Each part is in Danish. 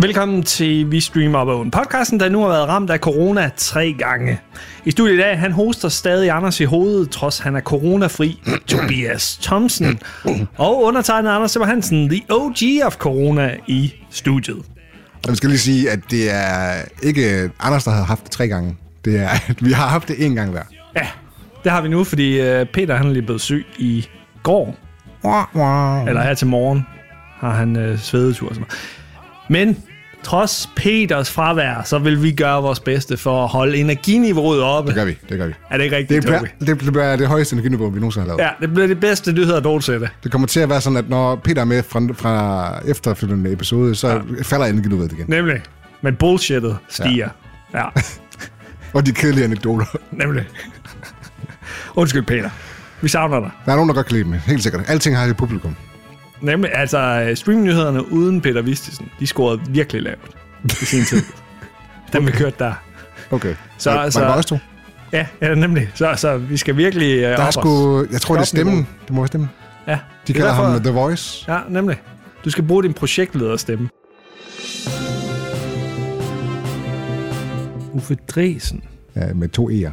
Velkommen til Vi Streamer Up Own, podcasten, der nu har været ramt af corona tre gange. I studiet i dag, han hoster stadig Anders i hovedet, trods han er coronafri, Tobias Thomsen. Og undertegnet Anders Simmer Hansen, the OG of corona i studiet. Og man skal lige sige, at det er ikke Anders, der har haft det tre gange. Det er, at vi har haft det én gang hver. Ja, det har vi nu, fordi øh, Peter han er lige blevet syg i går, eller her til morgen har han øh, svedetur. og sådan noget. Men trods Peters fravær, så vil vi gøre vores bedste for at holde energiniveauet oppe. Det gør vi, det gør vi. Er det ikke rigtigt, Det bliver, Tobi? det bliver det højeste energiniveau, vi nogensinde har lavet. Ja. Ja, det bliver det bedste nyheder nogensinde. Det kommer til at være sådan, at når Peter er med fra, fra efterfølgende episode, så ja. falder energiniveauet igen. Nemlig. Men bullshittet stiger. Ja, ja Og de kedelige anekdoter. nemlig. Undskyld, Peter. Vi savner dig. Der er nogen, der godt kan lide dem, helt sikkert. Alting har et publikum. Nemlig, altså, øh, streamnyhederne uden Peter Vistisen, de scorede virkelig lavt i sin tid. Dem vi kørte der. Okay. Så- Var- var så- det bare os to? Ja, ja nemlig. Så, så vi skal virkelig øh, Der er op sgu, os. jeg tror, det er stemmen. Det må være stemmen. Ja, De det er kalder derfor- ham The Voice. Ja, nemlig. Du skal bruge din projektlederstemme. Uffe Dresen. Ja, med to E'er.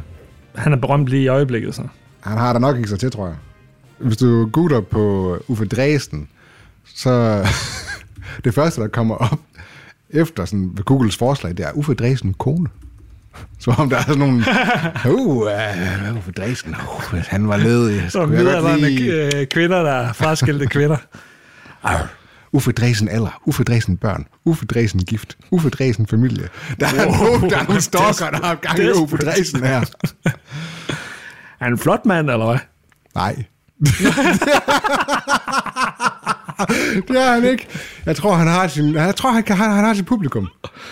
Han er berømt lige i øjeblikket, så. Han har der nok ikke så til, tror jeg. Hvis du googler på Uffe Dresden, så det første, der kommer op efter sådan, ved Googles forslag, det er Uffe Dresden kone. Så om der er sådan nogle... Uh, uh, Uffe Dresden, uh, hvis han var ledig. Så Skulle jeg godt medarbejderne lige... lige... øh, kvinder, der er fraskilte kvinder. Uffe Dresden alder, Uffe Dresden børn, Uffe Dresden gift, Uffe Dresden familie. Der er, wow, nogle, der er nogle stalker, der har gang i Uffe Desperate. Dresden her. Er han en flot mand, eller hvad? Nej. det er han ikke. Jeg tror, han har sin, jeg tror, han, kan, han, han har sit publikum.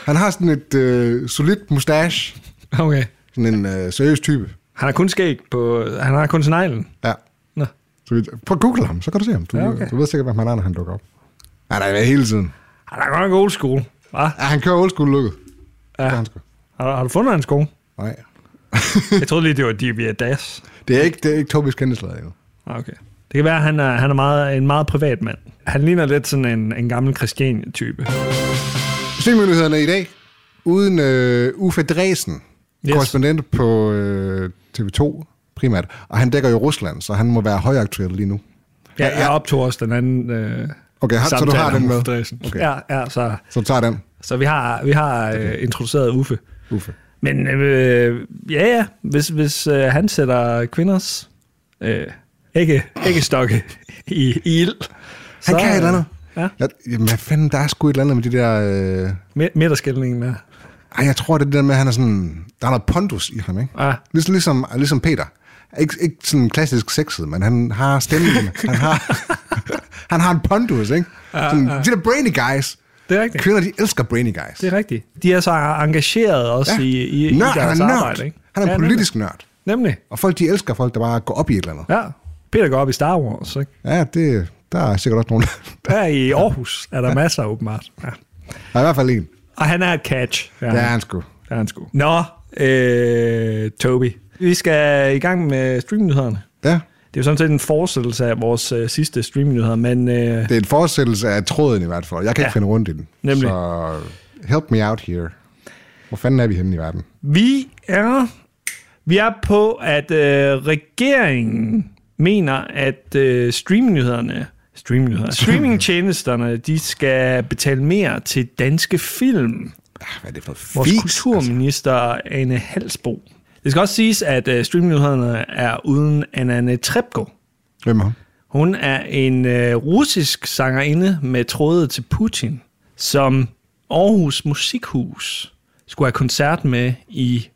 Han har sådan et øh, solidt mustache. Okay. Sådan en øh, seriøs type. Han har kun skæg på... Han har kun sneglen. Ja. Nå. Så vi, prøv at google ham, så kan du se ham. Du, Ja, ja, okay. okay. du ved sikkert, hvem han er, når han dukker op. Han er med hele tiden. Han er godt nok old school. Hva? Ja, han kører old school lukket. Ja. Ja. Han sgu. Har, du- har du fundet hans sko? Nej. Jeg troede lige, det var DBA Das. Det er ikke, det er ikke Tobis kendeslag endnu. Ah, Okay. Det kan være, at han er, han er meget, en meget privat mand. Han ligner lidt sådan en, en gammel Christian-type. Søgemyndighederne i dag, uden øh, Uffe Dresen, Yes. yes. korrespondent på øh, TV2 primært. Og han dækker jo Rusland, så han må være højaktuel lige nu. Ja, jeg optog også den anden øh, Okay, har, så du samtale har om den med. Uffe Dresen. Okay. Ja, ja så, Så du tager den, så vi har, vi har øh, introduceret Uffe. Uffe. Men øh, ja, ja, hvis, hvis øh, han sætter kvinders øh, ikke, ikke stokke i, i ild. Han kan et eller andet. Ja, Jeg, jamen, hvad fanden, der er sgu et eller andet med de der... Øh... mi- midterskældningen der. Ej, jeg tror, det er det der med, at han er sådan... Der er noget pondus i ham, ikke? Ja. Liges, ligesom, ligesom Peter. Ikke, ikke sådan klassisk sexet, men han har stemmen. han, har, han har en pondus, ikke? Sådan, De der brainy guys. Det er rigtigt. Kvinder, de elsker brainy guys. Det er rigtigt. De er så engageret også ja. i, øh, i, i Nørd, deres han er arbejde. Ikke? Han er en Ja, politisk nørd. Nemlig. nemlig. Og folk, de elsker folk, der bare går op i et eller andet. Ja. Peter går op i Star Wars. Ikke? Ja, det, der er sikkert også nogen. Der i Aarhus er der masser åbenbart. Ja. Der er i hvert fald en. Og han er et catch. Ja, han sgu. Det er han sgu. Nå, øh, Toby. Vi skal i gang med streamnyhederne. Ja, Det er jo sådan set en fortsættelse af vores øh, sidste streamnyheder, men øh, det er en fortsættelse af tråden i hvert fald. Jeg kan ja. Ja. ikke finde rundt i den. Nemlig. Så help me out here. Hvor fanden er vi henne i verden? vi er vi er på, at øh, regeringen mener, at øh, streamnyhederne, streamnyheder, streamingtjenesterne, de skal betale mere til danske film. Ah, Hvad er det for Vores fis? altså? kulturminister Anne Halsbo. Det skal også siges, at øh, streamnyhederne er uden Anne Trebko. Hvem er hun? Hun er en øh, russisk sangerinde med tråde til Putin, som Aarhus Musikhus skulle have koncert med i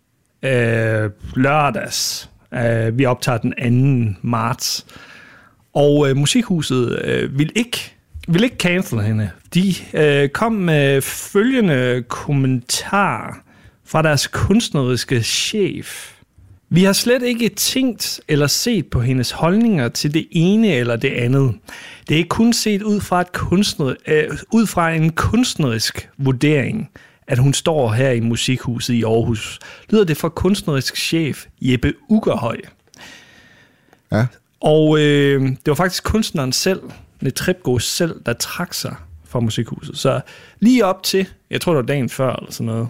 øh, lørdags. Øh, vi optager den 2. marts. Og øh, Musikhuset øh, vil ikke vil ikke cancel hende. De øh, kom med følgende kommentar fra deres kunstneriske chef. Vi har slet ikke tænkt eller set på hendes holdninger til det ene eller det andet. Det er kun set ud fra, et kunstner, øh, ud fra en kunstnerisk vurdering, at hun står her i Musikhuset i Aarhus. Lyder det fra kunstnerisk chef Jeppe Ugerhøj. Ja. Og øh, det var faktisk kunstneren selv, Netripko selv, der trak sig fra musikhuset. Så lige op til, jeg tror det var dagen før eller sådan noget,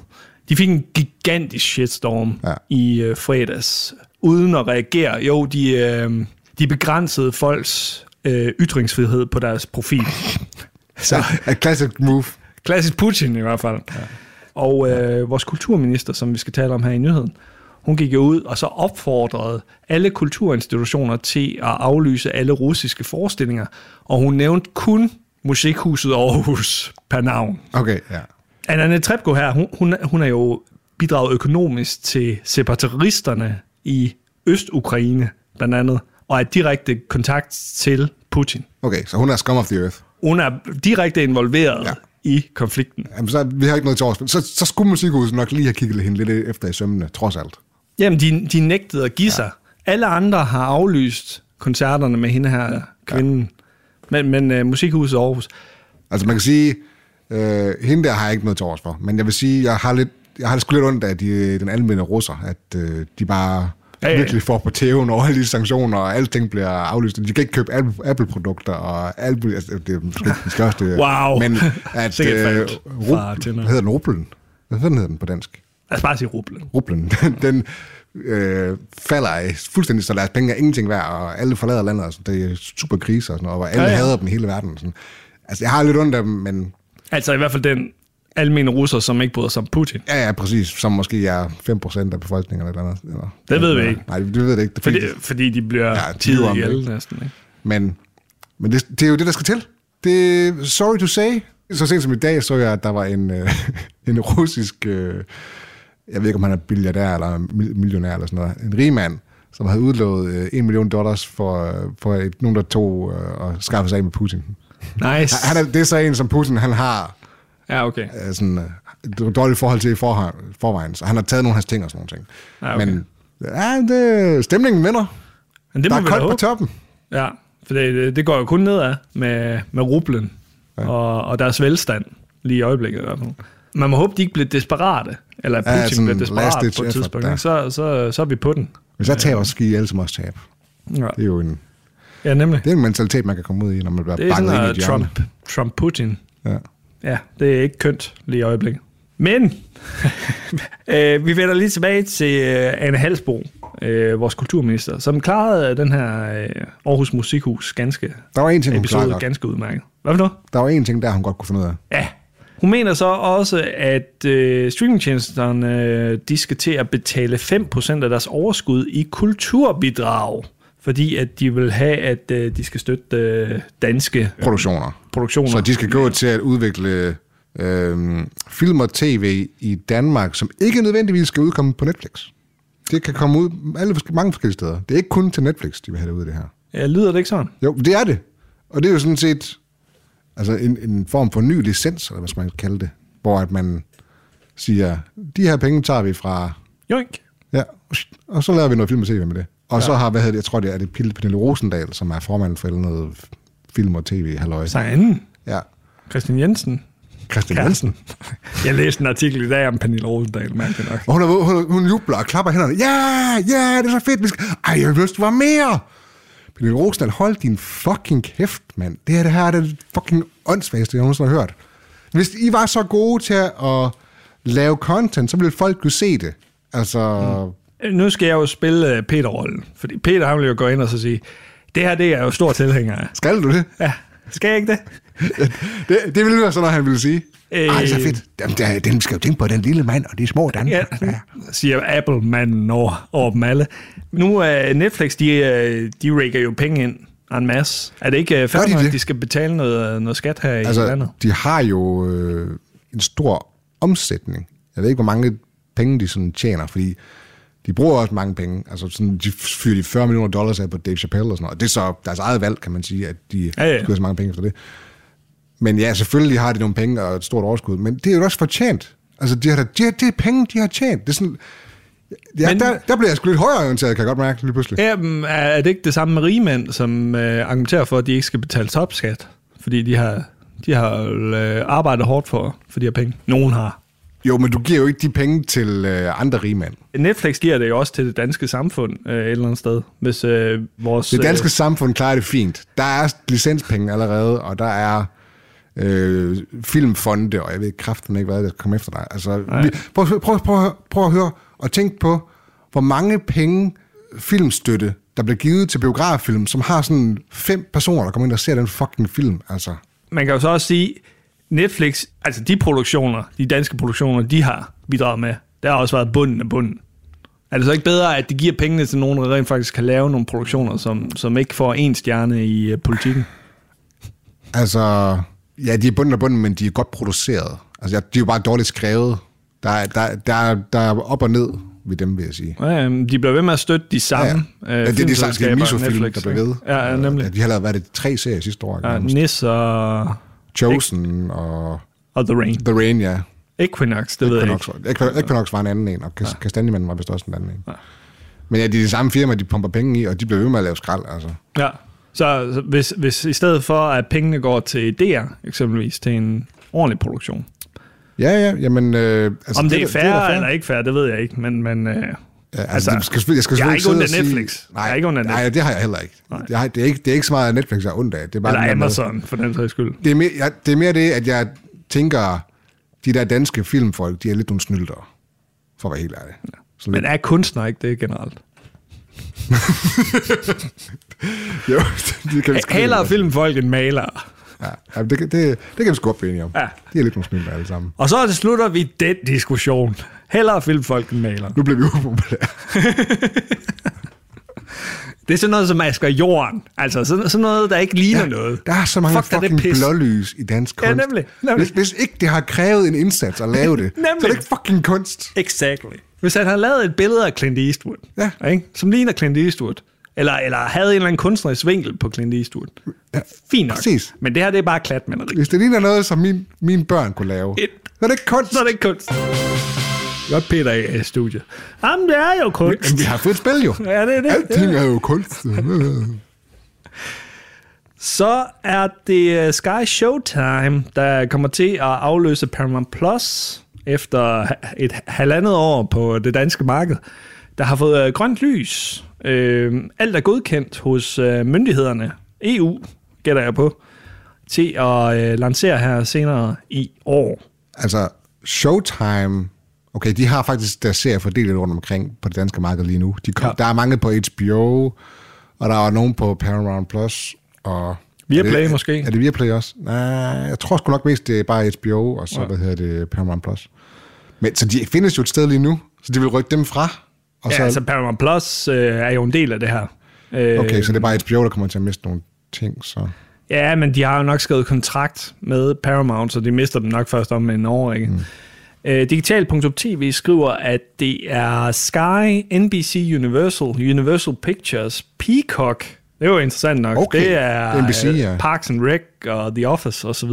de fik en gigantisk shitstorm Ja. ja. i øh, fredags, uden at reagere. Jo, de, øh, de begrænsede folks øh, ytringsfrihed på deres profil. Så a classic move. Klassisk Putin i hvert fald. Ja. Og øh, vores kulturminister, som vi skal tale om her i nyheden, hun gik jo ud og så opfordrede alle kulturinstitutioner til at aflyse alle russiske forestillinger, og hun nævnte kun Musikhuset Aarhus per navn. Okay, ja. Anna Trebko her, hun, hun, hun er jo bidraget økonomisk til separatisterne i Øst-Ukraine, blandt andet, og er direkte kontakt til Putin. Okay, så hun er scum of the earth. Hun er direkte involveret Ja. ja. i konflikten. Jamen, så vi har ikke noget til års. Så, så skulle musikhuset nok lige have kigget hende lidt efter i sømmene, trods alt. Jamen, de, de nægtede at give ja. sig. Alle andre har aflyst koncerterne med hende her, kvinden. Ja. Men, men uh, Musikhuset Aarhus. Altså, man kan sige, øh, hende der har jeg ikke noget til års for. Men jeg vil sige, jeg har lidt jeg har det sgu lidt ondt af de, den almindelige russer, at øh, de bare Ja, ja, ja, ja. ja. virkelig får på tæven over alle de sanktioner, og alting bliver aflyst. De kan ikke købe Apple- Apple-produkter, og Apple, altså, det er måske ikke den største. Wow. Men at, Sikkert øh, faldt fra rub, tænder. hvad hedder den? Rublen? Hvad hedder den på dansk? Lad os bare sige rublen. rublen, den, den øh, falder i fuldstændig, så deres penge er ingenting værd, og alle forlader landet, og sådan, det er super krise og sådan noget, og alle ja, Ja, ja. ja. hader dem i hele verden. og Sådan. Altså, jeg har lidt ondt af dem, men Altså i hvert fald den almene russer, som ikke bryder sig om Putin. ja, ja, præcis, som måske er 5% af befolkningen eller noget. Eller, Det ved vi ikke. Nej, det ved det ikke. Det Fordi, fordi... fordi de bliver Ja, ja, de lyver tidet om det, ihjel ikke? næsten. Ikke? Men, men det, det, er jo det, der skal til. Det er sorry to say. Så sent som i dag så jeg, at der var en, øh, en russisk... Øh, jeg ved ikke, om han er billiardær eller mil- millionær eller sådan noget, en rig mand, som havde udlovet øh, 1 million dollars for, øh, for et, nogen, der tog øh, og skaffede sig af med Putin. Nice. Han- Han er, det er så en, som Putin han har Ja, okay. øh, sådan, øh, et dårligt forhold til i forhøj- forvejen, så han har taget nogle af hans ting og sådan nogle ting. Ja, Ah, okay. Men ja, det, stemningen vinder. Men det Det må der er vi da koldt på håbe. toppen. Ja, for det, det går jo kun nedad med, med rublen ja. og, og deres velstand lige i øjeblikket i hvert fald. Man må håbe, de ikke bliver desperate, eller at Ja, Putin ja, sådan bliver last desperat ditch på et effort, tidspunkt. ja. ikke? Så, så, så er vi på den. Hvis jeg taber, så skal I alle som også tabe. Ja, Det er jo en, ja nemlig. det er en mentalitet, man kan komme ud i, når man bliver Det er sådan banket ind i noget et hjørne. Trump, Trump-Putin. Ja. Ja, det er ikke kønt lige i øjeblikket. Men øh, vi vender lige tilbage til øh, Anne Halsbo, øh, vores kulturminister, som klarede den her øh, Aarhus Musikhus ganske Der var en ting, hun klarede episode godt. ganske udmærket. Hvad for noget? Der var en ting, der hun godt kunne finde ud af. Ja. Hun mener så også, at øh, streamingtjenesterne øh, de skal til at betale 5% af deres overskud i kulturbidrag, fordi at de vil have, at øh, de skal støtte øh, danske Produktioner. produktioner. Så de skal gå til at udvikle øh, film og tv i Danmark, som ikke nødvendigvis skal udkomme på Netflix. Det kan komme ud alle, forske- mange forskellige steder. Det er ikke kun til Netflix, de vil have det ud det her. Ja, lyder det ikke sådan? Jo, det er det. Og det er jo sådan set altså en, en form for ny licens, eller hvad skal man kalde det, hvor at man siger, de her penge tager vi fra Joink. Ja, og så laver vi noget film og tv med det. Og ja. så har, hvad hedder det, jeg tror det er det Pille Pernille Rosendal, som er formand for et eller andet film og tv, halløj. Så anden, Ja, Christian Jensen. Christian Jensen. Kæresten. Jeg læste en artikel i dag om Pernille Rosendal, mærkeligt nok. Og hun, er, hun, hun jubler og klapper i hænderne. Ja, ja, det er så fedt. Vi skal... Ej, jeg har lyst til var mere. Pernille Rosendal, hold din fucking kæft, mand. Det her, det her er det fucking åndssvageste, jeg nogensinde har hørt. Hvis I var så gode til at lave content, så ville folk kunne se det. Altså, mm. Nu skal jeg jo spille øh, Peter-rollen, fordi Peter han vil jo gå ind og så sige, det her det er jeg jo stor tilhænger af. skal du det? Ja, skal jeg ikke det? det, det ville være sådan, han ville sige. Øh... Øh. Ej, så fedt. Jamen, der, den skal jo tænke på den lille mand og de små Danmark. Ja, siger Apple-manden over, over dem alle. Nu er Netflix, de, øh, de rækker jo penge ind en masse. Er det ikke øh, fair Gør de nok, det? at de skal betale noget, noget skat her altså, i Altså, landet? de har jo øh, en stor omsætning. Jeg ved ikke, hvor mange penge de sådan tjener, fordi de bruger også mange penge. Altså, sådan, de fyrer de 40 millioner dollars af på Dave Chappelle og sådan noget. Det er så deres eget valg, kan man sige, at de ja, Ja, ja. ja. skyder så mange penge efter det. Men ja, selvfølgelig har de nogle penge og et stort overskud, men det er jo også fortjent. Altså, de har, da- de har, det er penge, de har tjent. Det er sådan, ja, men, Men- der, der bliver jeg sgu lidt højere orienteret, kan jeg godt mærke lige pludselig. Jamen, mm, er, er det ikke det samme med rigmænd, som øh, argumenterer for, at de ikke skal betale topskat? Fordi de har, de har øh, arbejdet hårdt for, for de her penge. Nogen har. Jo, men du giver jo ikke de penge til øh, andre rigmænd. Netflix giver det jo også til det danske samfund øh, et eller andet sted. Hvis øh, vores... Det danske samfund klarer det fint. Der er licenspenge allerede, og der er øh, filmfonde, og jeg ved kraften ikke, hvad der kommer efter dig. Altså, vi, prøv, prøv, prøv, prøv at høre og tænk på, hvor mange penge filmstøtte, der bliver givet til biograffilm, som har sådan fem personer, der kommer ind og ser den fucking film. Altså, Man kan jo så også sige, Netflix, altså de produktioner, de danske produktioner, de har bidraget med, der har også været bunden af bunden. Er det så ikke bedre, at de giver pengene til nogen, der rent faktisk kan lave nogle produktioner, som, som ikke får en stjerne i øh, politikken? altså ja, de er bunden og bunden, men de er godt produceret. Altså, ja, de er jo bare dårligt skrevet. Der, er- der, der, er- der er op og ned ved dem, vil jeg sige. Ja, ja, men de bliver ved med at støtte de samme øh, Ja, ja. det er de slags filmselskaber, misofilm, der Netflix, bliver ikke? ved. Ja, ja, nemlig. Ja, de har lavet, hvad er det, tre serier sidste år. Ja, Ja, Nis og, Chosen og og The Rain. The Rain, ja. Equinox, det ved jeg ikke. Equinox, Equ- Equinox var en anden en, og Kas- Kastanjemanden var vist også en anden en. Men ja, det er de samme firma, de pumper penge i, og de bliver ved med at lave skrald, altså. Ja. Så så hvis, hvis i stedet for, at pengene går til DR, eksempelvis, til en ordentlig produktion. Ja, ja, jamen... Øh, altså, Altså, Om det, er da- da færre eller ikke færre, det ved jeg ikke, men... men øh, Ja, altså, Altså, altså, det skal, selvfølgelig- jeg skal jeg er selvfølgelig ikke sidde ondt af og Netflix. Sige, Jeg er ikke ondt af Nej, det har jeg heller ikke. Jeg har, det, er ikke. det er ikke så meget af Netflix, jeg er ondt af. Det er bare eller den der med- Amazon, for den sags skyld. Det er, mere, jeg, det er mere det, at jeg tænker, de der danske filmfolk, de er lidt nogle snyldere, for at være helt ærlig. Sådan Men lidt. er kunstner ikke det generelt? Jo, det kan vi sgu Altså, Hellere ikke. filmfolk end malere. Ja, ja, det, kan- det, det kan vi sgu godt blive enige om. Ja. De er lidt nogle snyldere alle sammen. Og så slutter vi den diskussion. Hellere filmfolk end malere. Nu bliver vi upopulære. Det er sådan noget, som masker jorden. Altså sådan, sådan noget, der ikke ligner ja, noget. Der er så mange Fuck, Fuck, der er det fucking pis. blålys i dansk Ja, kunst. nemlig, nemlig. Hvis, hvis ikke det har krævet en indsats at lave det, så er det Nemlig. ikke fucking kunst. Exactly. Hvis han havde lavet et billede af Clint Eastwood, Ja. ikke? som ligner Clint Eastwood, eller, eller havde en eller anden kunstnerisk vinkel på Clint Eastwood. Ja, Fint nok. præcis. Men det her, det er bare klatmaleri. Hvis det ligner noget, som min, mine børn kunne lave, Et- så er det ikke kunst. Så er det ikke kunst. Godt Peter i studiet. Jamen, det er jo kunst. Jamen, vi har fået spil jo. Ja, det er det. Alting er jo kunst. Så er det øh, Sky Showtime, der kommer til at afløse Paramount Plus efter ha- et halvandet år på det danske marked, der har fået øh, grønt lys. Øh, alt er godkendt hos øh, myndighederne, EU gætter jeg på, til at øh, lancere her senere i år. altså, Showtime... Okay, de har faktisk deres serier fordelt lidt rundt omkring på det danske marked lige nu. De kom, Ja. ja. Der er mange på HBO, og der er nogen på Paramount+, Plus, og... Viaplay er det, måske? Er det Viaplay også? Nej, jeg tror sgu nok mest, det er bare HBO, og så, ja. hvad hedder det, Paramount+. Plus. Men, så de findes jo et sted lige nu, så de vil rykke dem fra. Og Ja, så, altså Paramount Plus øh, er jo en del af det her. Øh, okay, så det er bare HBO, der kommer til at miste nogle ting, så... Ja, men de har jo nok skrevet kontrakt med Paramount, så de mister dem nok først om en år, ikke? Mm. Øh, Digital.tv skriver, at det er Sky, NBC Universal, Universal Pictures, Peacock. Det er jo interessant nok. Okay, Det er NBC, øh, ja. Parks and Rec og The Office osv.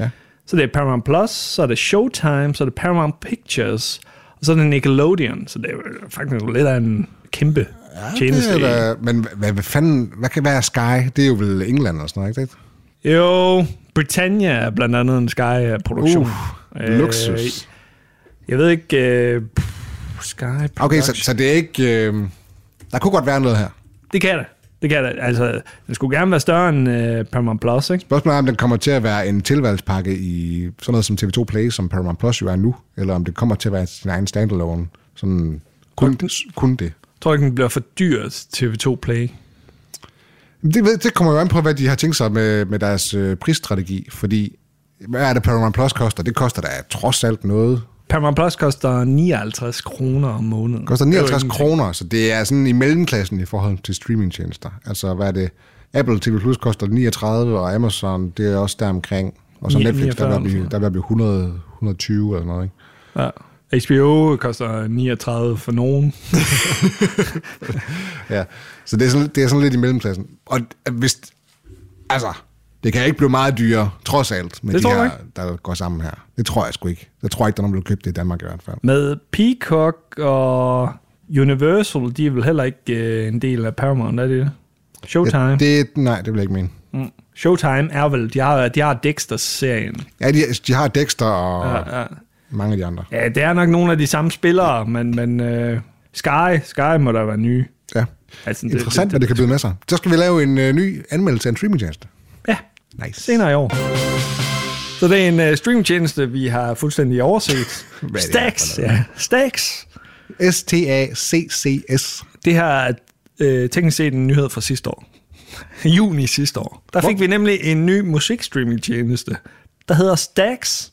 Ja. Så det er Paramount Plus, så er det Showtime, så er det Paramount Pictures, og så er det Nickelodeon. Så det er jo faktisk lidt af en kæmpe ja, tjeneste. Det er, da- men hvad, hvad, hvad fanden, hvad kan være Sky? Det er jo vel England og sådan noget, ikke det? Jo, Britannia er blandt andet en Sky-produktion. Uh, Øh, luksus. Jeg ved ikke... Øh, pff, Sky Okay, så, Production. så det er ikke... Øh, der kunne godt være noget her. Det kan det. Det kan det. Altså, den skulle gerne være større end øh, Paramount Plus, ikke? Spørgsmålet er, om den kommer til at være en tilvalgspakke i sådan noget som TV2 Play, som Paramount Plus jo er nu, eller om det kommer til at være sin egen standalone. Sådan kun, kun det. Jeg tror ikke, den bliver for dyr til TV2 Play. Det, ved, det kommer jo an på, hvad de har tænkt sig med, med deres øh, prisstrategi, fordi hvad er det, Paramount Plus koster? Det koster da trods alt noget. Paramount Plus koster 59 kroner om måneden. Det koster Det er jo 59 ingenting. kroner, så det er sådan i mellemklassen i forhold til streamingtjenester. Altså, hvad er det? Apple TV Plus koster 39, og Amazon, det er også der omkring. Og så Ni- Netflix, der 49 vil blive, eller der vil blive 100, 120 eller noget, ikke? Ja. HBO koster 39 for nogen. Ja, så det er, sådan, det er sådan lidt i mellemklassen. Og hvis, altså, det kan ikke blive meget dyrere, trods alt, med Det de tror du her, der går sammen her. Det tror jeg sgu ikke. Jeg tror ikke, der er nogen, der bliver købt det i Danmark i hvert fald. Med Peacock og Universal, de er vel heller ikke øh, en del af Paramount, er de det? Showtime. Ja, det, nej, det vil jeg ikke mene. Mm. Showtime er vel, de har, de har Dexter-serien. Ja, de, de har Dexter og ja. Ja, ja. mange af de andre. ja, det er nok nogle af de samme spillere, men, men uh, Sky, Sky må der være nye. Ja. Altså, det- Interessant, det- hvad det kan byde med sig. Så skal vi lave en øh, ny anmeldelse af en streamingtjeneste. Ja, Nice. senere i år. Så det er en uh, streamtjeneste, vi har fuldstændig overset. det er Stax, for ja. Stax. S-T-A-C-C-S. Det her er øh, teknisk set en nyhed fra sidste år. Juni sidste år. Der fik Hvor- vi nemlig en ny musikstreamingtjeneste, der hedder Stax.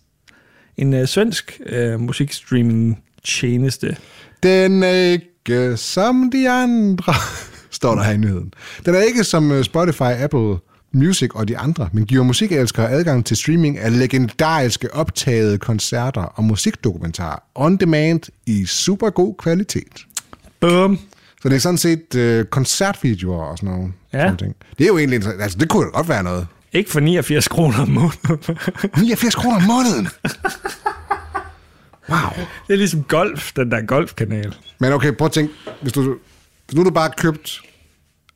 En øh, svensk øh, musikstreamingtjeneste. Den er ikke som de andre, står der her i nyheden. Den er ikke som øh, Spotify, Apple Music og de andre, men giver musikelskere adgang til streaming af legendariske optagede koncerter og musikdokumentarer on demand i super god kvalitet. Bum. Så det er sådan set øh, koncertvideoer og sådan nogle Ja. sådan nogle ting. Det er jo egentlig, interessant. altså det kunne da godt være noget. Ikke for 89 kroner om måneden. 89 kroner om måneden! Wow. det er ligesom golf, den der golfkanal. Men okay, prøv at tænke, hvis, du, hvis nu du bare købt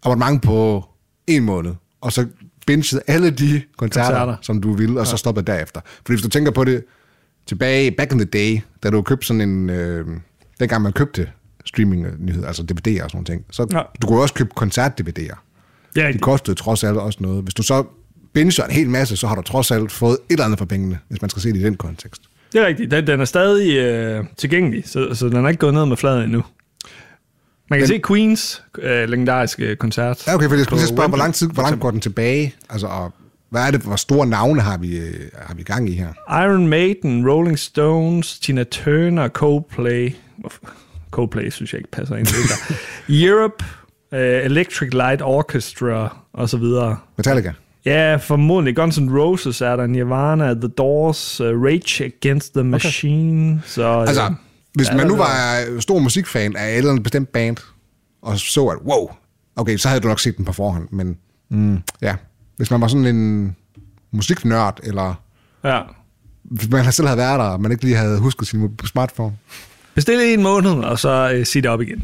abonnement på en måned, og så bingede alle de koncerter, Koncerter. koncerter. som du ville, og så stoppede derefter. Fordi hvis du tænker på det tilbage, back in the day, da du købte sådan en, øh, dengang man købte streaming-nyheder, altså DVD'er og sådan noget, så Ja. ja. du kunne jo også købe koncert-DVD'er. Ja, De kostede trods alt også noget. Hvis du så binger en hel masse, så har du trods alt fået et eller andet for pengene, hvis man skal se det i den kontekst. det er rigtigt. Den, den er stadig øh, tilgængelig, så, så den er ikke gået ned med fladen endnu. Man kan Den- se Queens øh, legendariske koncert. Ja, okay, for jeg skulle på lige spørge, hvor Wembley. lang tid, hvor langt går den tilbage? Altså, og hvad er det, hvor store navne har vi, øh, har vi gang i her? Iron Maiden, Rolling Stones, Tina Turner, Coldplay. Hvorfor- Coldplay synes jeg ikke passer ind i det der. Europe, øh, Electric Light Orchestra og så videre. Metallica? Ja, formodentlig. Guns N' Roses er der, Nirvana, The Doors, uh, Rage Against the Machine. Okay. Så, øh, Altså, hvis Ja, man nu der- var stor musikfan af et eller andet bestemt band, og så at, wow, okay, så havde du nok set den på forhånd, men mm. ja, hvis man var sådan en musiknørd, eller ja. hvis man selv havde været der, og man ikke lige havde husket sin smartphone. Bestil i en måned, og så øh, sig det op igen.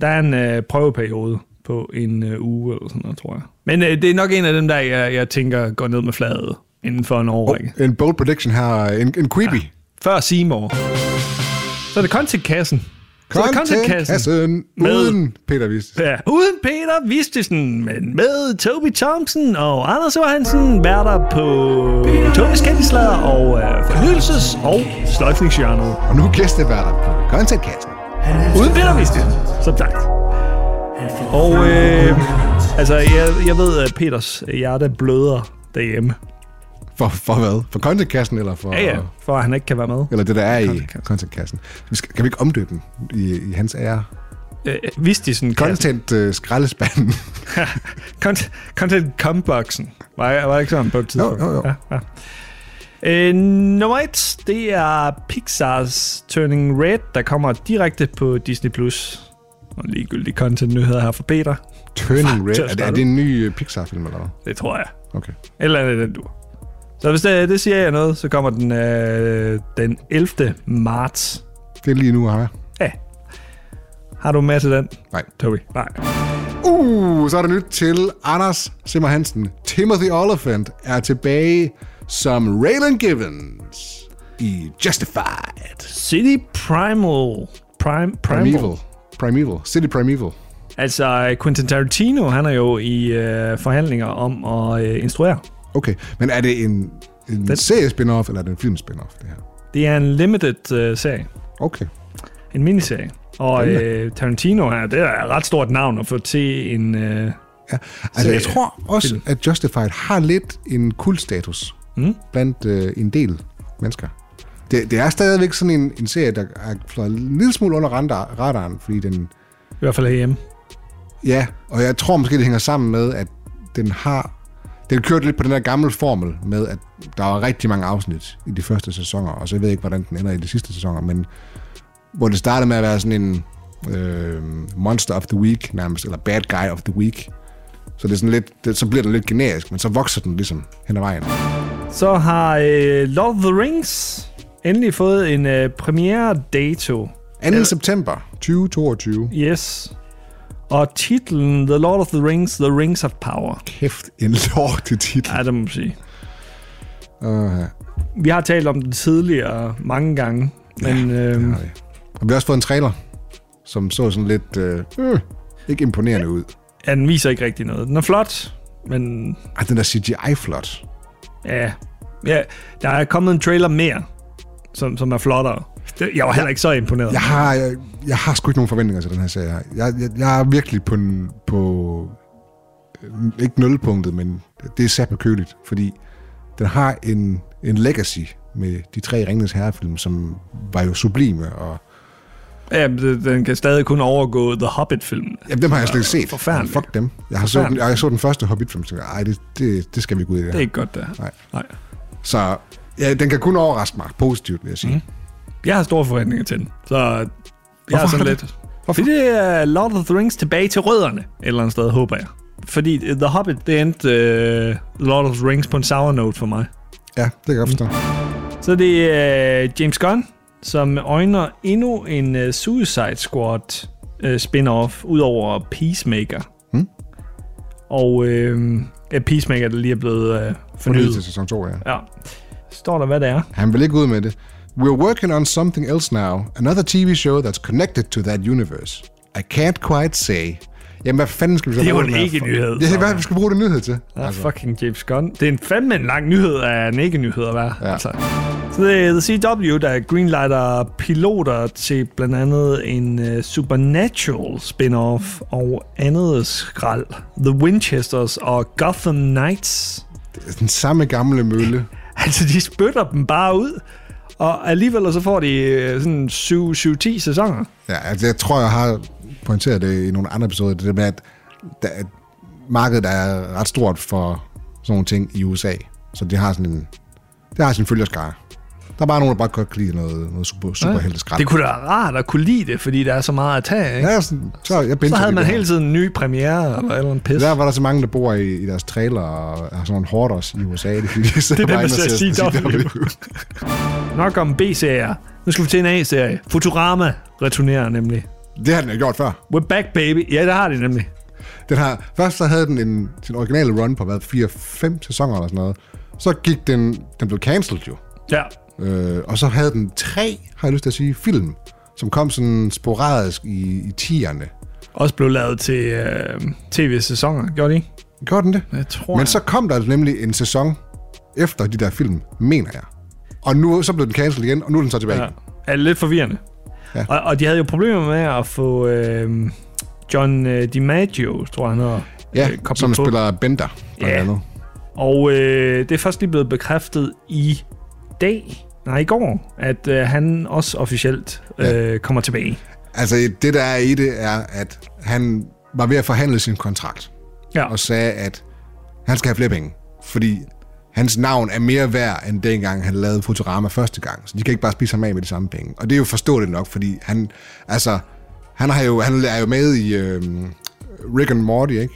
Der er en øh, prøveperiode på en øh, uge eller sådan noget, tror jeg. Men øh, det er nok en af dem, der jeg, jeg tænker går ned med fladet inden for en Oh, årrække. en bold prediction her, en, en creepy. Ja. Før Seymour. Så er det content-kassen. Så er det Content-kassen Med- uden Peter Vist. Ja, uden Peter Vistisen, men med Toby Thompson og Anders Johansen, værter på Tobys Kendeslader og øh, fornyelses- og sløjfningsjørnet. Og nu gæsteværter på Content-kassen. Uden Peter Vistisen, som sagt. Og øh, altså, jeg, jeg ved, at Peters hjerte bløder derhjemme. For, for hvad? For contentkassen eller for... Ja, ja, for at han ikke kan være med. Eller det, der er i Contentkassen. contentkassen. Vi skal, kan vi ikke omdøbe den i, i hans ære? Øh, Vistisen kan. Content øh, skraldespanden. Content, content comboxen. Var, jeg- var det ikke sådan på et tidspunkt? Jo, jo, jo. Ja, ja. Øh, nummer et, det er Pixars Turning Red, der kommer direkte på Disney+. Plus. Og en ligegyldig content-nyheder her fra Peter. Turning til at Red. Er det, er starte. det en ny øh, Pixar-film eller hvad? Det tror jeg. Okay. Eller andet i den dur. Så hvis det, det siger jeg noget, så kommer den øh, den 11. marts. Det er lige nu, har jeg. Ja. Har du med til den, Nej. Toby? Nej. Uh, så er der nyt til Anders Simmer Hansen. Timothy Oliphant er tilbage som Raylan Givens i Justified. City Primal. Prime, Primal. Primeval. Primeval. City Primeval. Altså, Quentin Tarantino, han er jo i øh, forhandlinger om at øh, instruere. Okay, men er det en, en serie-spin-off, eller er det en film-spin-off, det her? Det er en limited øh, serie, Okay. en miniserie. Og Spændende. øh, Tarantino, er, det er et ret stort navn at få til en... Øh, Ja, altså Så, jeg øh, tror også, film. at Justified har lidt en kultstatus Mm. mm. blandt øh, en del mennesker. Det, det er stadigvæk sådan en, en serie, der er flået en lille smule under radar- radaren, fordi den... I hvert fald herhjemme. Ja, og jeg tror måske, det hænger sammen med, at den har... Den kørte lidt på den der gamle formel med, at der var rigtig mange afsnit i de første sæsoner, og så ved jeg ikke, hvordan den ender i de sidste sæsoner, men hvor det startede med at være sådan en øh, monster of the week nærmest, eller bad guy of the week. Så, det er sådan lidt, det, så bliver den lidt generisk, men så vokser den ligesom hen ad vejen. Så har øh, Love of the Rings endelig fået en øh, premiere dato. 2. september 2022. Yes. Og titlen The Lord of the Rings, The Rings of Power. Kæft, en lortet titel. Ja, det må man sige. Uh, Vi har talt om den tidligere mange gange, men... Ja, øh, Nej. Og vi har også fået en trailer, som så sådan lidt øh, øh, ikke imponerende ud. Ja, den viser ikke rigtig noget. Den er flot, men Ej, den der CGI-flot. ja, Ja, der er kommet en trailer mere, som, som er flottere. Det- Jeg var heller ikke så imponeret. Jeg har, jeg, jeg har sgu ikke nogen forventninger til den her serie. her. Jeg, jeg, jeg er virkelig på, en- på øh, ikke nulpunktet, men det er sat køligt, fordi den har en, en legacy med de tre Ringens Herrefilm, som var jo sublime, og Ja, men det- den kan stadig kun overgå The Hobbit-filmen. jamen, dem har jeg slet ikke set. Forfærdeligt. Fuck dem. Jeg, har så, den, jeg så den første Hobbit-film, og tænkte, ej, det, det, det skal vi ikke ud i det Det her. er ikke godt, det her. Nej. Nej. Så ja, den kan kun overraske mig positivt, vil jeg sige. Mm. Jeg har store forventninger til den, så jeg er sådan har du lidt... Hvorfor? Fordi det er Lord of the Rings tilbage til rødderne, et eller andet sted, håber jeg. Fordi øh, The Hobbit, det endte uh, Lord of the Rings på en sour note for mig. Ja, det kan jeg godt forstå. Så det er uh, James Gunn, som øjner endnu en uh, Suicide Squad uh, spin-off, ud over Peacemaker. Mm. Og uh, Peacemaker, der lige er blevet uh, Fornyet til fornyet. sæson 2, ja. Ja. Står der, hvad det er? Han vil ikke ud med det. We're working on something else now. Another TV show that's connected to that universe. I can't quite say. Jamen, hvad fanden skal vi så Det er bruge jo den her ikke for- en nyhed, Det er, så. hvad vi skal bruge den nyhed til. Ja, altså. fucking James Gunn. Det er en fandme en lang nyhed af en ikke-nyhed at være. Ja. Altså. Så det er The CW, der greenlighter piloter til blandt andet en uh, Supernatural spin-off og andet skrald. The Winchesters og Gotham Knights. Det er Den samme gamle mølle. Altså, de spytter dem bare ud, og alligevel så får de øh, sådan 7-10 sæsoner. Ja, altså, jeg tror, jeg har pointeret det i nogle andre episoder. Det der med, at der, at markedet er ret stort for sådan nogle ting i USA. Så det har sådan en... Det har sin følgerskare. Der er bare nogen, der bare godt kan lide noget, noget super, superhelteskrald. Ah, Det kunne da være rart at kunne lide det, fordi der er så meget at tage, ikke? Ja, jeg er sådan, så, jeg så bingede havde det man der. hele tiden en ny premiere eller et eller andet pis. Der var der så mange, der bor i, i deres trailer og har sådan nogle hoarders i USA. Det, er fordi, de Det er sidder det, bare man inde og ser ser CW. Nok om B-serier. Nu skal vi til en A-serie. Futurama returnerer nemlig. Det har den jo gjort før. We're back, baby. Ja, det har de nemlig. Den har, først så havde den en, sin originale run på hvad, 4-5 sæsoner eller sådan noget. Så gik den, den blev cancelled jo. Ja. Øh, og så havde den tre, har jeg lyst til at sige, film, som kom sådan sporadisk i, i tierne. Også blev lavet til øh, tv-sæsoner, gjorde de ikke? Gjorde den det? Jeg tror, Men så kom der nemlig en sæson efter de der film, mener jeg. Og nu så blev den cancelled igen, og nu er den så tilbage. Ja. Er det lidt forvirrende. Ja. Ja. Og, og de havde jo problemer med at få øh, John øh, DiMaggio, tror jeg han hedder. Ja, øh, ja koblet som på. spiller Bender, blandt Ja. andet. Og øh, det er først lige blevet bekræftet i dag, nej i går, at øh, han også officielt øh, kommer tilbage. Altså, det der er i det, er, at han var ved at forhandle sin kontrakt, Ja. og sagde, at han skal have flere penge, fordi hans navn er mere værd, end dengang han lavede Futurama første gang. Så de kan ikke bare spise ham af med de samme penge. Og det er jo forståeligt nok, fordi han, altså, han, har jo, han er jo med i øh, Rick and Morty, ikke?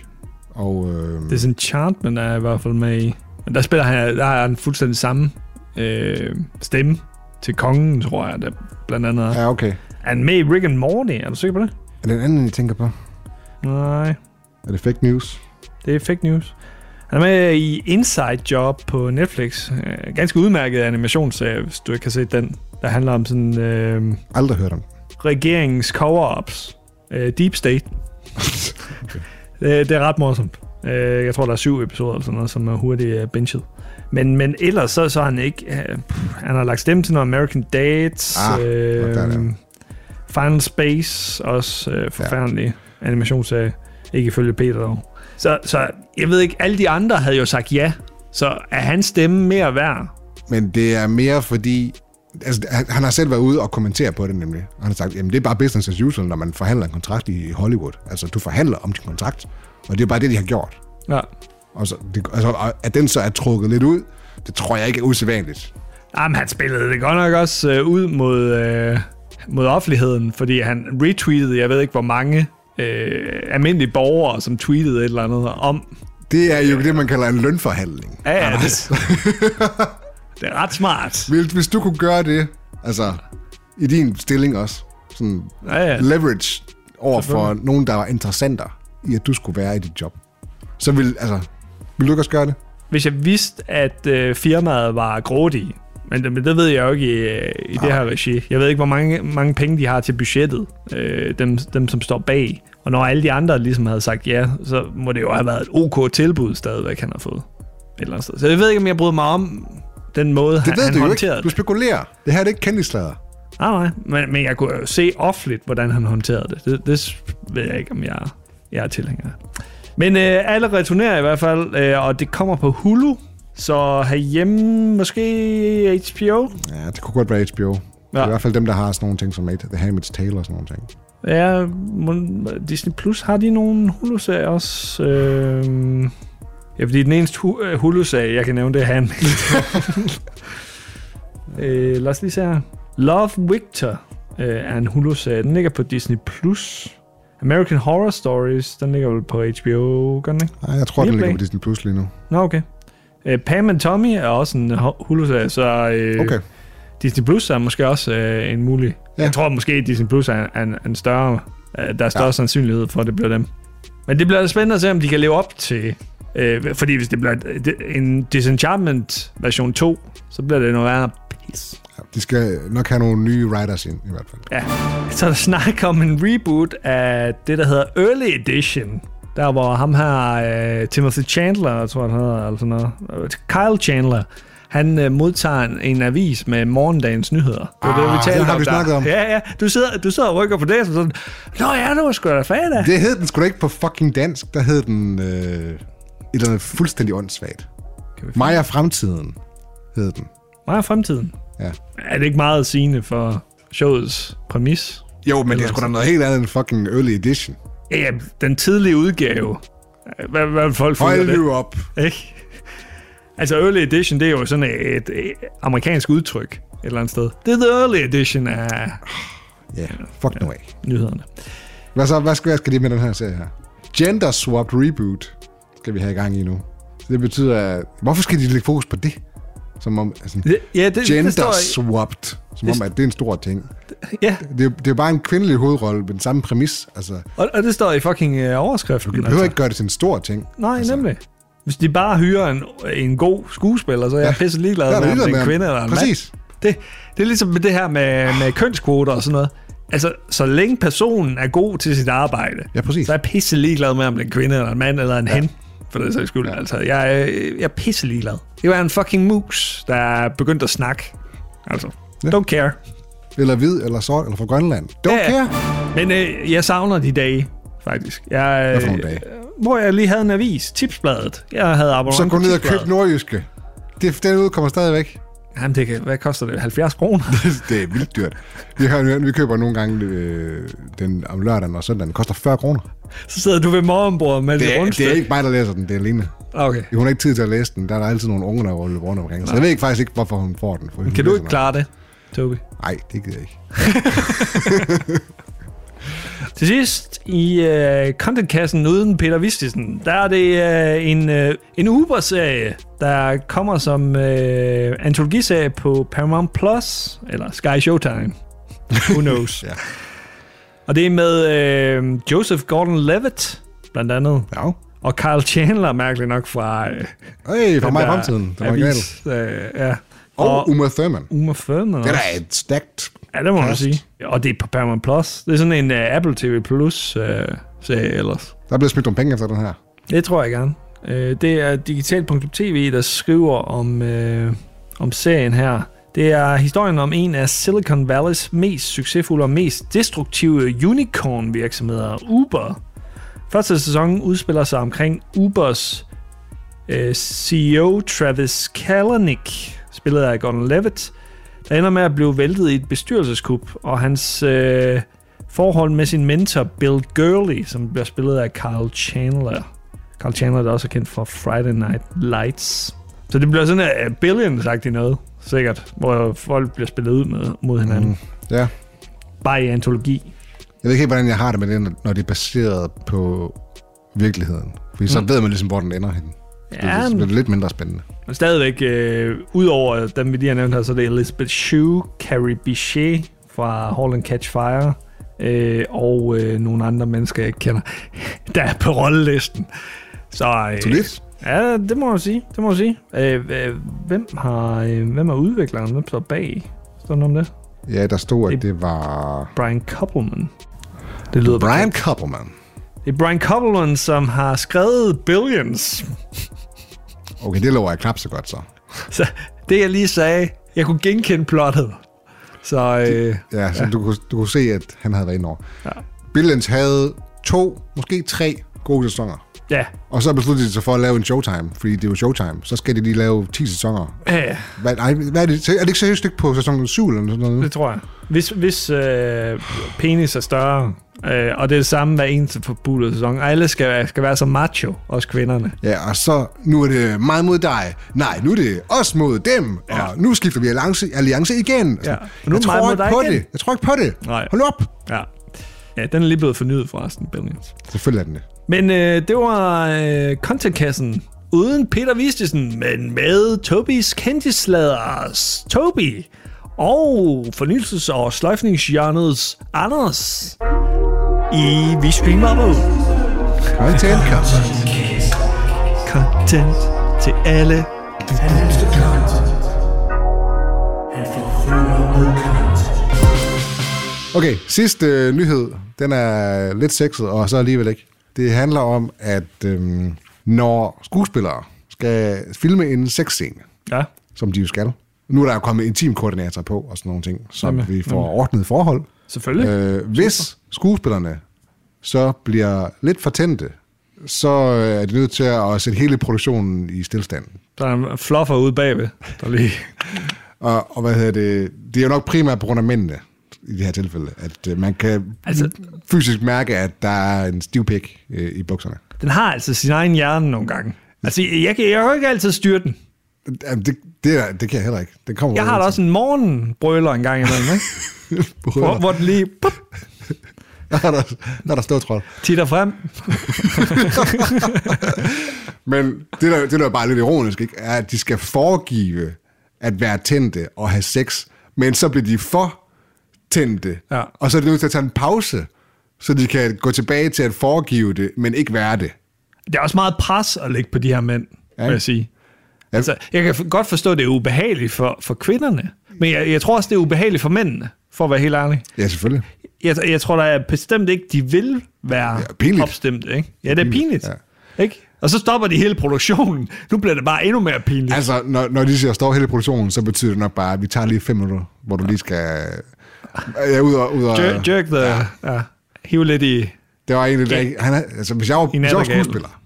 Og øh, Det er sådan Chartman er i hvert fald med i. Men der spiller han, der har han fuldstændig samme øh, stemme til kongen, tror jeg, der blandt andet er. ja, okay. Er han med i Rick and Morty? Er du sikker på det? Er det en anden, I tænker på? Nej, Er det fake news? det er fake news. Han er med i Inside Job på Netflix. Øh, Ganske udmærket animationsserie, hvis du ikke har set den. Der handler om sådan øh, Aldrig hørt om. regeringens cover-ups. Øh, Deep State. Det, det er ret morsomt. Øh, Jeg tror, der er syv episoder eller sådan noget, som er hurtigt øh, binget. Men, men ellers så, så er han ikke... øh, pff, Han har lagt stemme til noget American Dates, Ah, øh, der er det. Final Space, også øh, forfærdelig animationsserie. Ikke ifølge Peter dog. Så, så jeg ved ikke, alle de andre havde jo sagt ja. Så er hans stemme mere værd? Men det er mere fordi... Altså, han- han har selv været ude og kommentere på det nemlig. Og han har sagt, jamen det er bare business as usual, når man forhandler en kontrakt i Hollywood. Altså, du forhandler om din kontrakt, og det er bare det, de har gjort. Ja. Og så, det, altså, og at den så er trukket lidt ud, det tror jeg ikke er usædvanligt. Jamen, han spillede det godt nok også øh, ud mod, øh, mod offentligheden, fordi han retweetede, jeg ved ikke hvor mange, øh, almindelige borgere, som tweetede et eller andet om. Det er jo det, man kalder en lønforhandling. Ja, ja, det, det er ret smart. Hvis, hvis du kunne gøre det, altså i din stilling også, sådan Ja, ja. leverage over for nogen, der var interessenter i, at du skulle være i dit job, så vil, altså, vil du ikke også gøre det? Hvis jeg vidste, at øh, firmaet var grådige, men det, men det ved jeg jo ikke i, øh, i det her regi. Jeg ved ikke, hvor mange, mange penge de har til budgettet, øh, dem, dem som står bag. Og når alle de andre ligesom havde sagt ja, så må det jo have været et ok tilbud stadigvæk, han har fået. Et eller andet sted. Så jeg ved ikke, om jeg bryder mig om den måde, Det ved han du jo håndterede ikke. Du spekulerer. Det her det er ikke kendtislader. Nej, nej, men, men jeg kunne jo se offentligt, hvordan han håndterede det. Det, det ved jeg ikke, om jeg, jeg er tilhænger af. Men øh, alle returnerer i hvert fald, øh, og det kommer på Hulu. Så herhjemme måske HBO? Ja, det kunne godt være HBO. Det er Ja. i hvert fald dem, der har sådan nogle ting som The Handmaid's Tale og sådan nogle ting. Ja, mon- Disney Plus har de nogle Hulu-serier også? Øh, ja, fordi den eneste hu- øh, Hulu-serie, jeg kan nævne, det er han. øh, lad os lige se her. Love Victor øh, er en Hulu-serie. Den ligger på Disney Plus. American Horror Stories, den ligger vel på HBO, gør den ikke? Nej, jeg tror, den Viaplay. ligger på Disney Plus lige nu. Nå, okay. Øh, Pam and Tommy er også en ho- Hulu-serie, så øh, Okay. Disney Plus er måske også øh, en mulig... Ja. Ja. Jeg tror måske, at Disney Plus er en, en større... Øh, der er større ja. sandsynlighed for, at det bliver dem. Men det bliver spændende at se, om de kan leve op til... Øh, fordi hvis det bliver øh, det- en Disenchantment version 2, så bliver det noget værre pis. Ja, de skal nok have nogle nye writers ind, i hvert fald. Ja. Så er der snak om en reboot af det, der hedder Early Edition. Der, hvor ham her, øh, Timothy Chandler, tror jeg, han hedder, eller sådan noget. Øh, Kyle Chandler, han øh, modtager en, en avis med morgendagens nyheder. Det var det, Ah, vi talte den har om vi der. snakket om. Ja, ja. Du sidder, du sidder og rykker på det, som sådan, Nå ja, nu er sgu da fredag. Det hed den sgu da ikke på fucking dansk. Der hed den øh, et eller andet fuldstændig åndssvagt. Kan vi- Mig og fremtiden hed den. Mig og fremtiden. Ja. Er det ikke meget sigende for showets præmis? Jo, men det er sgu da noget helt andet end fucking early edition. Ja, Ja, den tidlige udgave. Hvad, hvad vil folk føler Hold det? nu op. Ikke? Altså early edition, det er jo sådan et, et amerikansk udtryk et eller andet sted. Det er the early edition af Ja, yeah, fuck nu af. nyhederne. Hvad, så, hvad, skal, hvad skal de med den her serie her? Gender Swapped Reboot skal vi have i gang i nu. Så det betyder, at- hvorfor skal de lægge fokus på det? Som om, altså, Ja, det, gender det står, swapped. Som om, at det er en stor ting. ja Det er, det er bare en kvindelig hovedrolle med den samme præmis. Altså, og, og det står i fucking øh, overskriften. du behøver altså. ikke gøre det til en stor ting. Nej, altså, altså. nemlig. Hvis de bare hyrer en, en god skuespiller, så er jeg ja. pisse ligeglad der er med, om ligeglad det er en med kvinde ham. eller en Præcis. mand. Det, det er ligesom med det her med, med kønskvoter og sådan noget. Altså, så længe personen er god til sit arbejde, Ja, præcis. så er jeg pisse ligeglad med, om det er en kvinde eller en mand eller en ja. hen. For det er så skyld, ja. altså. Jeg, er- jeg er pisse ligeglad. Det var en fucking mus, der er begyndt at snakke. Altså, Ja. ja. don't care. Eller hvid, eller sort, eller fra Grønland. Don't Ja, ja. care. Men øh, jeg savner de dage, faktisk. Jeg, øh, Hvad for nogle dage? Hvor jeg lige havde en avis, Tipsbladet. Jeg havde abonnement Så gå på ned og Tipsbladet. køb nordjyske. Det, den udkommer stadigvæk. Jamen, det kan, hvad koster det? 70 kroner? det er vildt dyrt. Vi, har, vi køber nogle gange øh, den om lørdagen og søndagen. Den koster 40 kroner. Så sidder du ved morgenbordet med Det det er, det rundstykke. er ikke mig, der læser den. Det er Lene. Okay. Hun har ikke tid til at læse den. Der er der altid nogle unge, der løber rundt omkring. Så jeg ved ikke faktisk ikke, hvorfor hun får den. For Kan du ikke klare det, Tobi? Nej, det gider jeg ikke. Til sidst i øh, contentkassen uden Peter Vistisen, der er det øh, en, øh, en Uber-serie, der kommer som øh, antologiserie på Paramount Plus, eller Sky Showtime. Who knows? Ja. Og det er med øh, Joseph Gordon-Levitt, blandt andet, Ja. og Carl Chandler, mærkeligt nok, fra... Øh, Øj, for den mig i der fremtiden. Den original. avis, øh, ja. Og Og Uma Thurman. Uma Thurman Det er også. da et stacked. Ja, det må man Cast. sige. Og det er på Paramount Plus. Det er sådan en uh, Apple TV Plus uh, serie ellers. Der er blevet smidt nogle penge efter den her. Det tror jeg gerne. Uh, det er digital.tv, der skriver om, uh, om serien her. Det er historien om en af Silicon Valley's mest succesfulde og mest destruktive unicorn-virksomheder, Uber. Første sæson udspiller sig omkring Ubers øh, CEO Travis Kalanick, spillet af Gordon Levitt, der ender med at blive væltet i et bestyrelseskup, og hans øh, forhold med sin mentor Bill Gurley, som bliver spillet af Carl Chandler. Carl Chandler, der også er kendt for Friday Night Lights. Så det bliver sådan uh, billion sagt i noget, sikkert, hvor folk bliver spillet ud med, mod hinanden. Mm. Ja. Bare i antologi. Jeg ved ikke helt, hvordan jeg har det med det, når det er baseret på virkeligheden. Fordi så Mm. ved man ligesom, hvor den ender henne. Det er, det er lidt mindre spændende. Men stadigvæk, øh, udover dem, vi lige har nævnt her, så er det Elizabeth Shue, Carrie Bichet fra Hall and Catch Fire, øh, og øh, nogle andre mennesker, jeg ikke kender, der er på rollelisten. Så, øh, Solidt. Ja, det må man sige. Det må man sige. Øh, øh, hvem, har, øh, hvem er udvikleren? Hvem står bag? Står der noget om det? Ja, der stod, at Det- det var... Brian Koppelman. Det lyder Brian Koppelman. Det er Brian Koppelman, som har skrevet Billions. Okay, det lover jeg knap så godt så. Så det, jeg lige sagde, jeg kunne genkende plottet. Så øh, Ja, så ja. Du, kunne, du kunne se, at han havde været inde over. Ja. Billions havde to, måske tre gode sæsoner. ja, Og så besluttede de sig for at lave en showtime, fordi det er jo showtime. Så skal de lige lave 10 sæsoner. øh, Hvad, ej, hvad er, det, er det ikke seriøst ikke på sæson 7 eller sådan noget? nu? det tror jeg. Hvis, hvis øh, penis er større, øh, og det er det samme hver eneste forbudte sæson, og alle skal, skal være så macho, også kvinderne. Ja, og så nu er det mig mod dig. Nej, nu er det os mod dem. Ja. Og nu skifter vi alliance, alliance igen. Ja, Ja. og nu er jeg det mig tror mod ikke dig på igen. det. Jeg tror ikke på det. Nej. Hold op. Ja. ja, den er lige blevet fornyet forresten, Billions. Selvfølgelig er den det. Men øh, det var øh, contentkassen uden Peter Vistisen, men med Tobis kendtisladers Tobi og fornyelses- og sløjfningsjørnets Anders i Vi Streamer på Content cut. Content til alle. Okay, sidste øh, nyhed. Den er øh, lidt sexet, og så alligevel ikke. Det handler om, at øhm, når skuespillere skal filme en sexscene, Ja, som de jo skal. Nu er der jo kommet intimkoordinator på og sådan nogle ting, så Jamen, vi får ordnet forhold. selvfølgelig. Øh. Øh, hvis skuespillerne så bliver lidt fortændte, så øh, er de nødt til at sætte hele produktionen i stillstand. Der er en fluffer ude bagved, der lige... Og, og hvad hedder det? Det er jo nok primært på grund af mændene i det her tilfælde, at øh, man kan Altså- altså, fysisk mærke, at der er en stiv pik øh, i bukserne. Den har altså sin egen hjerne nogle gange. Altså, jeg kan jeg kan jo ikke altid styre den. Jamen, det, det, er, det kan jeg heller ikke. Det kommer Jeg har da også en morgenbrøler en gang imellem, ikke? Hvor, hvor den lige pop, Der er der, der, er der ståtrol. titter frem. Men det der, det der er bare lidt ironisk, ikke, er, at de skal foregive at være tændte og have sex, men så bliver de for tændte, Ja. og så er de nødt til at tage en pause, så de kan gå tilbage til at foregive det, men ikke være det. Det er også meget pres at lægge på de her mænd, ja. vil Ja, ikke? jeg sige. Ja. Altså, jeg kan f- godt forstå, at det er ubehageligt for, for kvinderne, men jeg, jeg tror også, det er ubehageligt for mændene, for at være helt ærlig. Ja, selvfølgelig. Jeg, jeg tror da bestemt ikke, de vil være Ja, pinligt. opstemt. Ikke? Ja, det er Pinligt, pinligt. Ja. Ikke? Og så stopper de hele produktionen. Nu bliver det bare endnu mere pinligt. Altså, Altså, når, når de siger, står hele produktionen, så betyder det nok bare, at vi tager lige fem minutter, hvor du lige skal... Ja, ud og, ud og, jerk, jerk the... Ja. øh, Ja, hive lidt i... Det var egentlig... Ja. Han, er- altså, hvis jeg var, hvis jeg var nattergalen. skuespiller,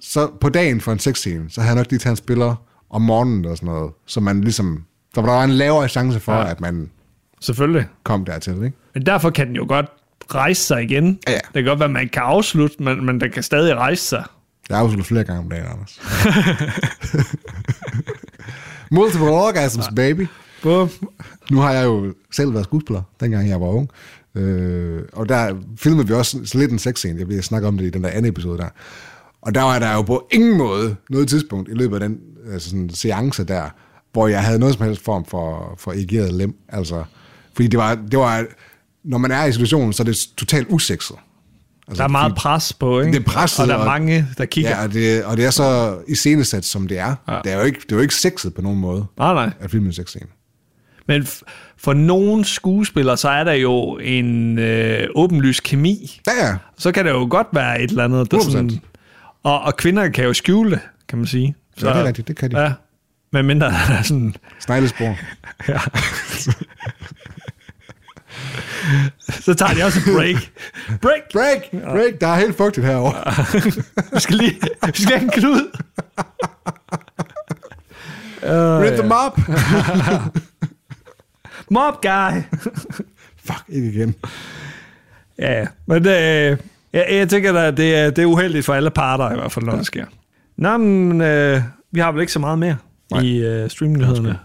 så på dagen for en sexscene, så havde jeg nok lige taget en spiller om morgenen og sådan noget, så man ligesom... Så var der en lavere chance for, Ja. ja. at man Selvfølgelig. kom dertil, ikke? Men derfor kan den jo godt rejse sig igen. Ja. Det kan godt være, at man kan afslutte, men, men den kan stadig rejse sig. Jeg har afsluttet flere gange om dagen, Anders. Multiple orgasms, baby. Bum. Nu har jeg jo selv været skuespiller, dengang jeg var ung. Øh, og der filmede vi også sådan lidt en sexscene. Jeg vil snakke om det i den der anden episode der. Og der var der jo på ingen måde noget tidspunkt i løbet af den altså sådan seance der, hvor jeg havde noget som helst form for, for egeret lem. Altså, fordi det var, det var, når man er i situationen, så er det totalt usekset. Altså, Der er meget fordi- pres på, ikke? Det er presset, Og der er og- mange, der kigger. Ja, og det, og det er så iscenesat, som det er. Ja. Ja. Det, er jo ikke, det er jo ikke sexet på nogen måde, Nej, nej. at filme en sexscene. Men f- for nogle skuespillere, så er der jo en øh, åbenlys kemi. Der er Så kan det jo godt være et eller andet, der 100%. sådan... Og, og kvinder kan jo skjule det, kan man sige. Så, det er rigtigt, det kan de. Ja, men mindre der er sådan... sneglespor. Ja. så tager de også en break. Break! Break! Break! Der er helt fugtigt herovre. Vi skal lige... Vi skal have en klud. Rip them up! Mob guy! Fuck, ikke igen. Ja, ja. men øh, jeg, jeg tænker da, det er, det er uheldigt for alle parter i hvert fald, når det sker. Nå, men øh, vi har vel ikke så meget mere Nej. Nej. i øh, streamnyhederne, Det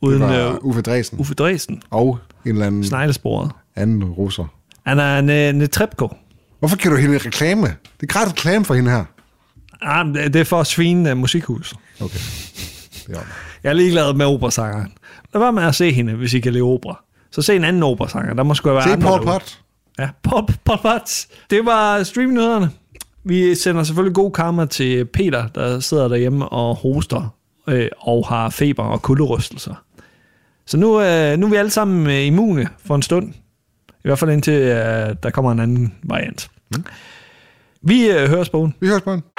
uden øh, var Uffe Dresen Uffe Dresden, og en eller anden sneglesporet. anden russer. Han er en, øh, en trepko. Hvorfor kan du hende reklame? Det er gratis reklame for hende her. Ah, men det det er for at svine øh, musikhus. Okay. Det er ordentligt. Jeg er ligeglad med operasangeren. Lad være med at se hende, hvis I kan lide opera. Så se en anden operasanger. Der må sgu være Se andre Paul derude. Pot. Ja, pop, pop, pop. Det var streamnyhederne. Vi sender selvfølgelig god karma til Peter, der sidder derhjemme og hoster øh, og har feber og kulderystelser. Så nu, øh, nu er vi alle sammen øh, immune for en stund. I hvert fald indtil øh, der kommer en anden variant. Vi øh, høres på. Vi høres på en.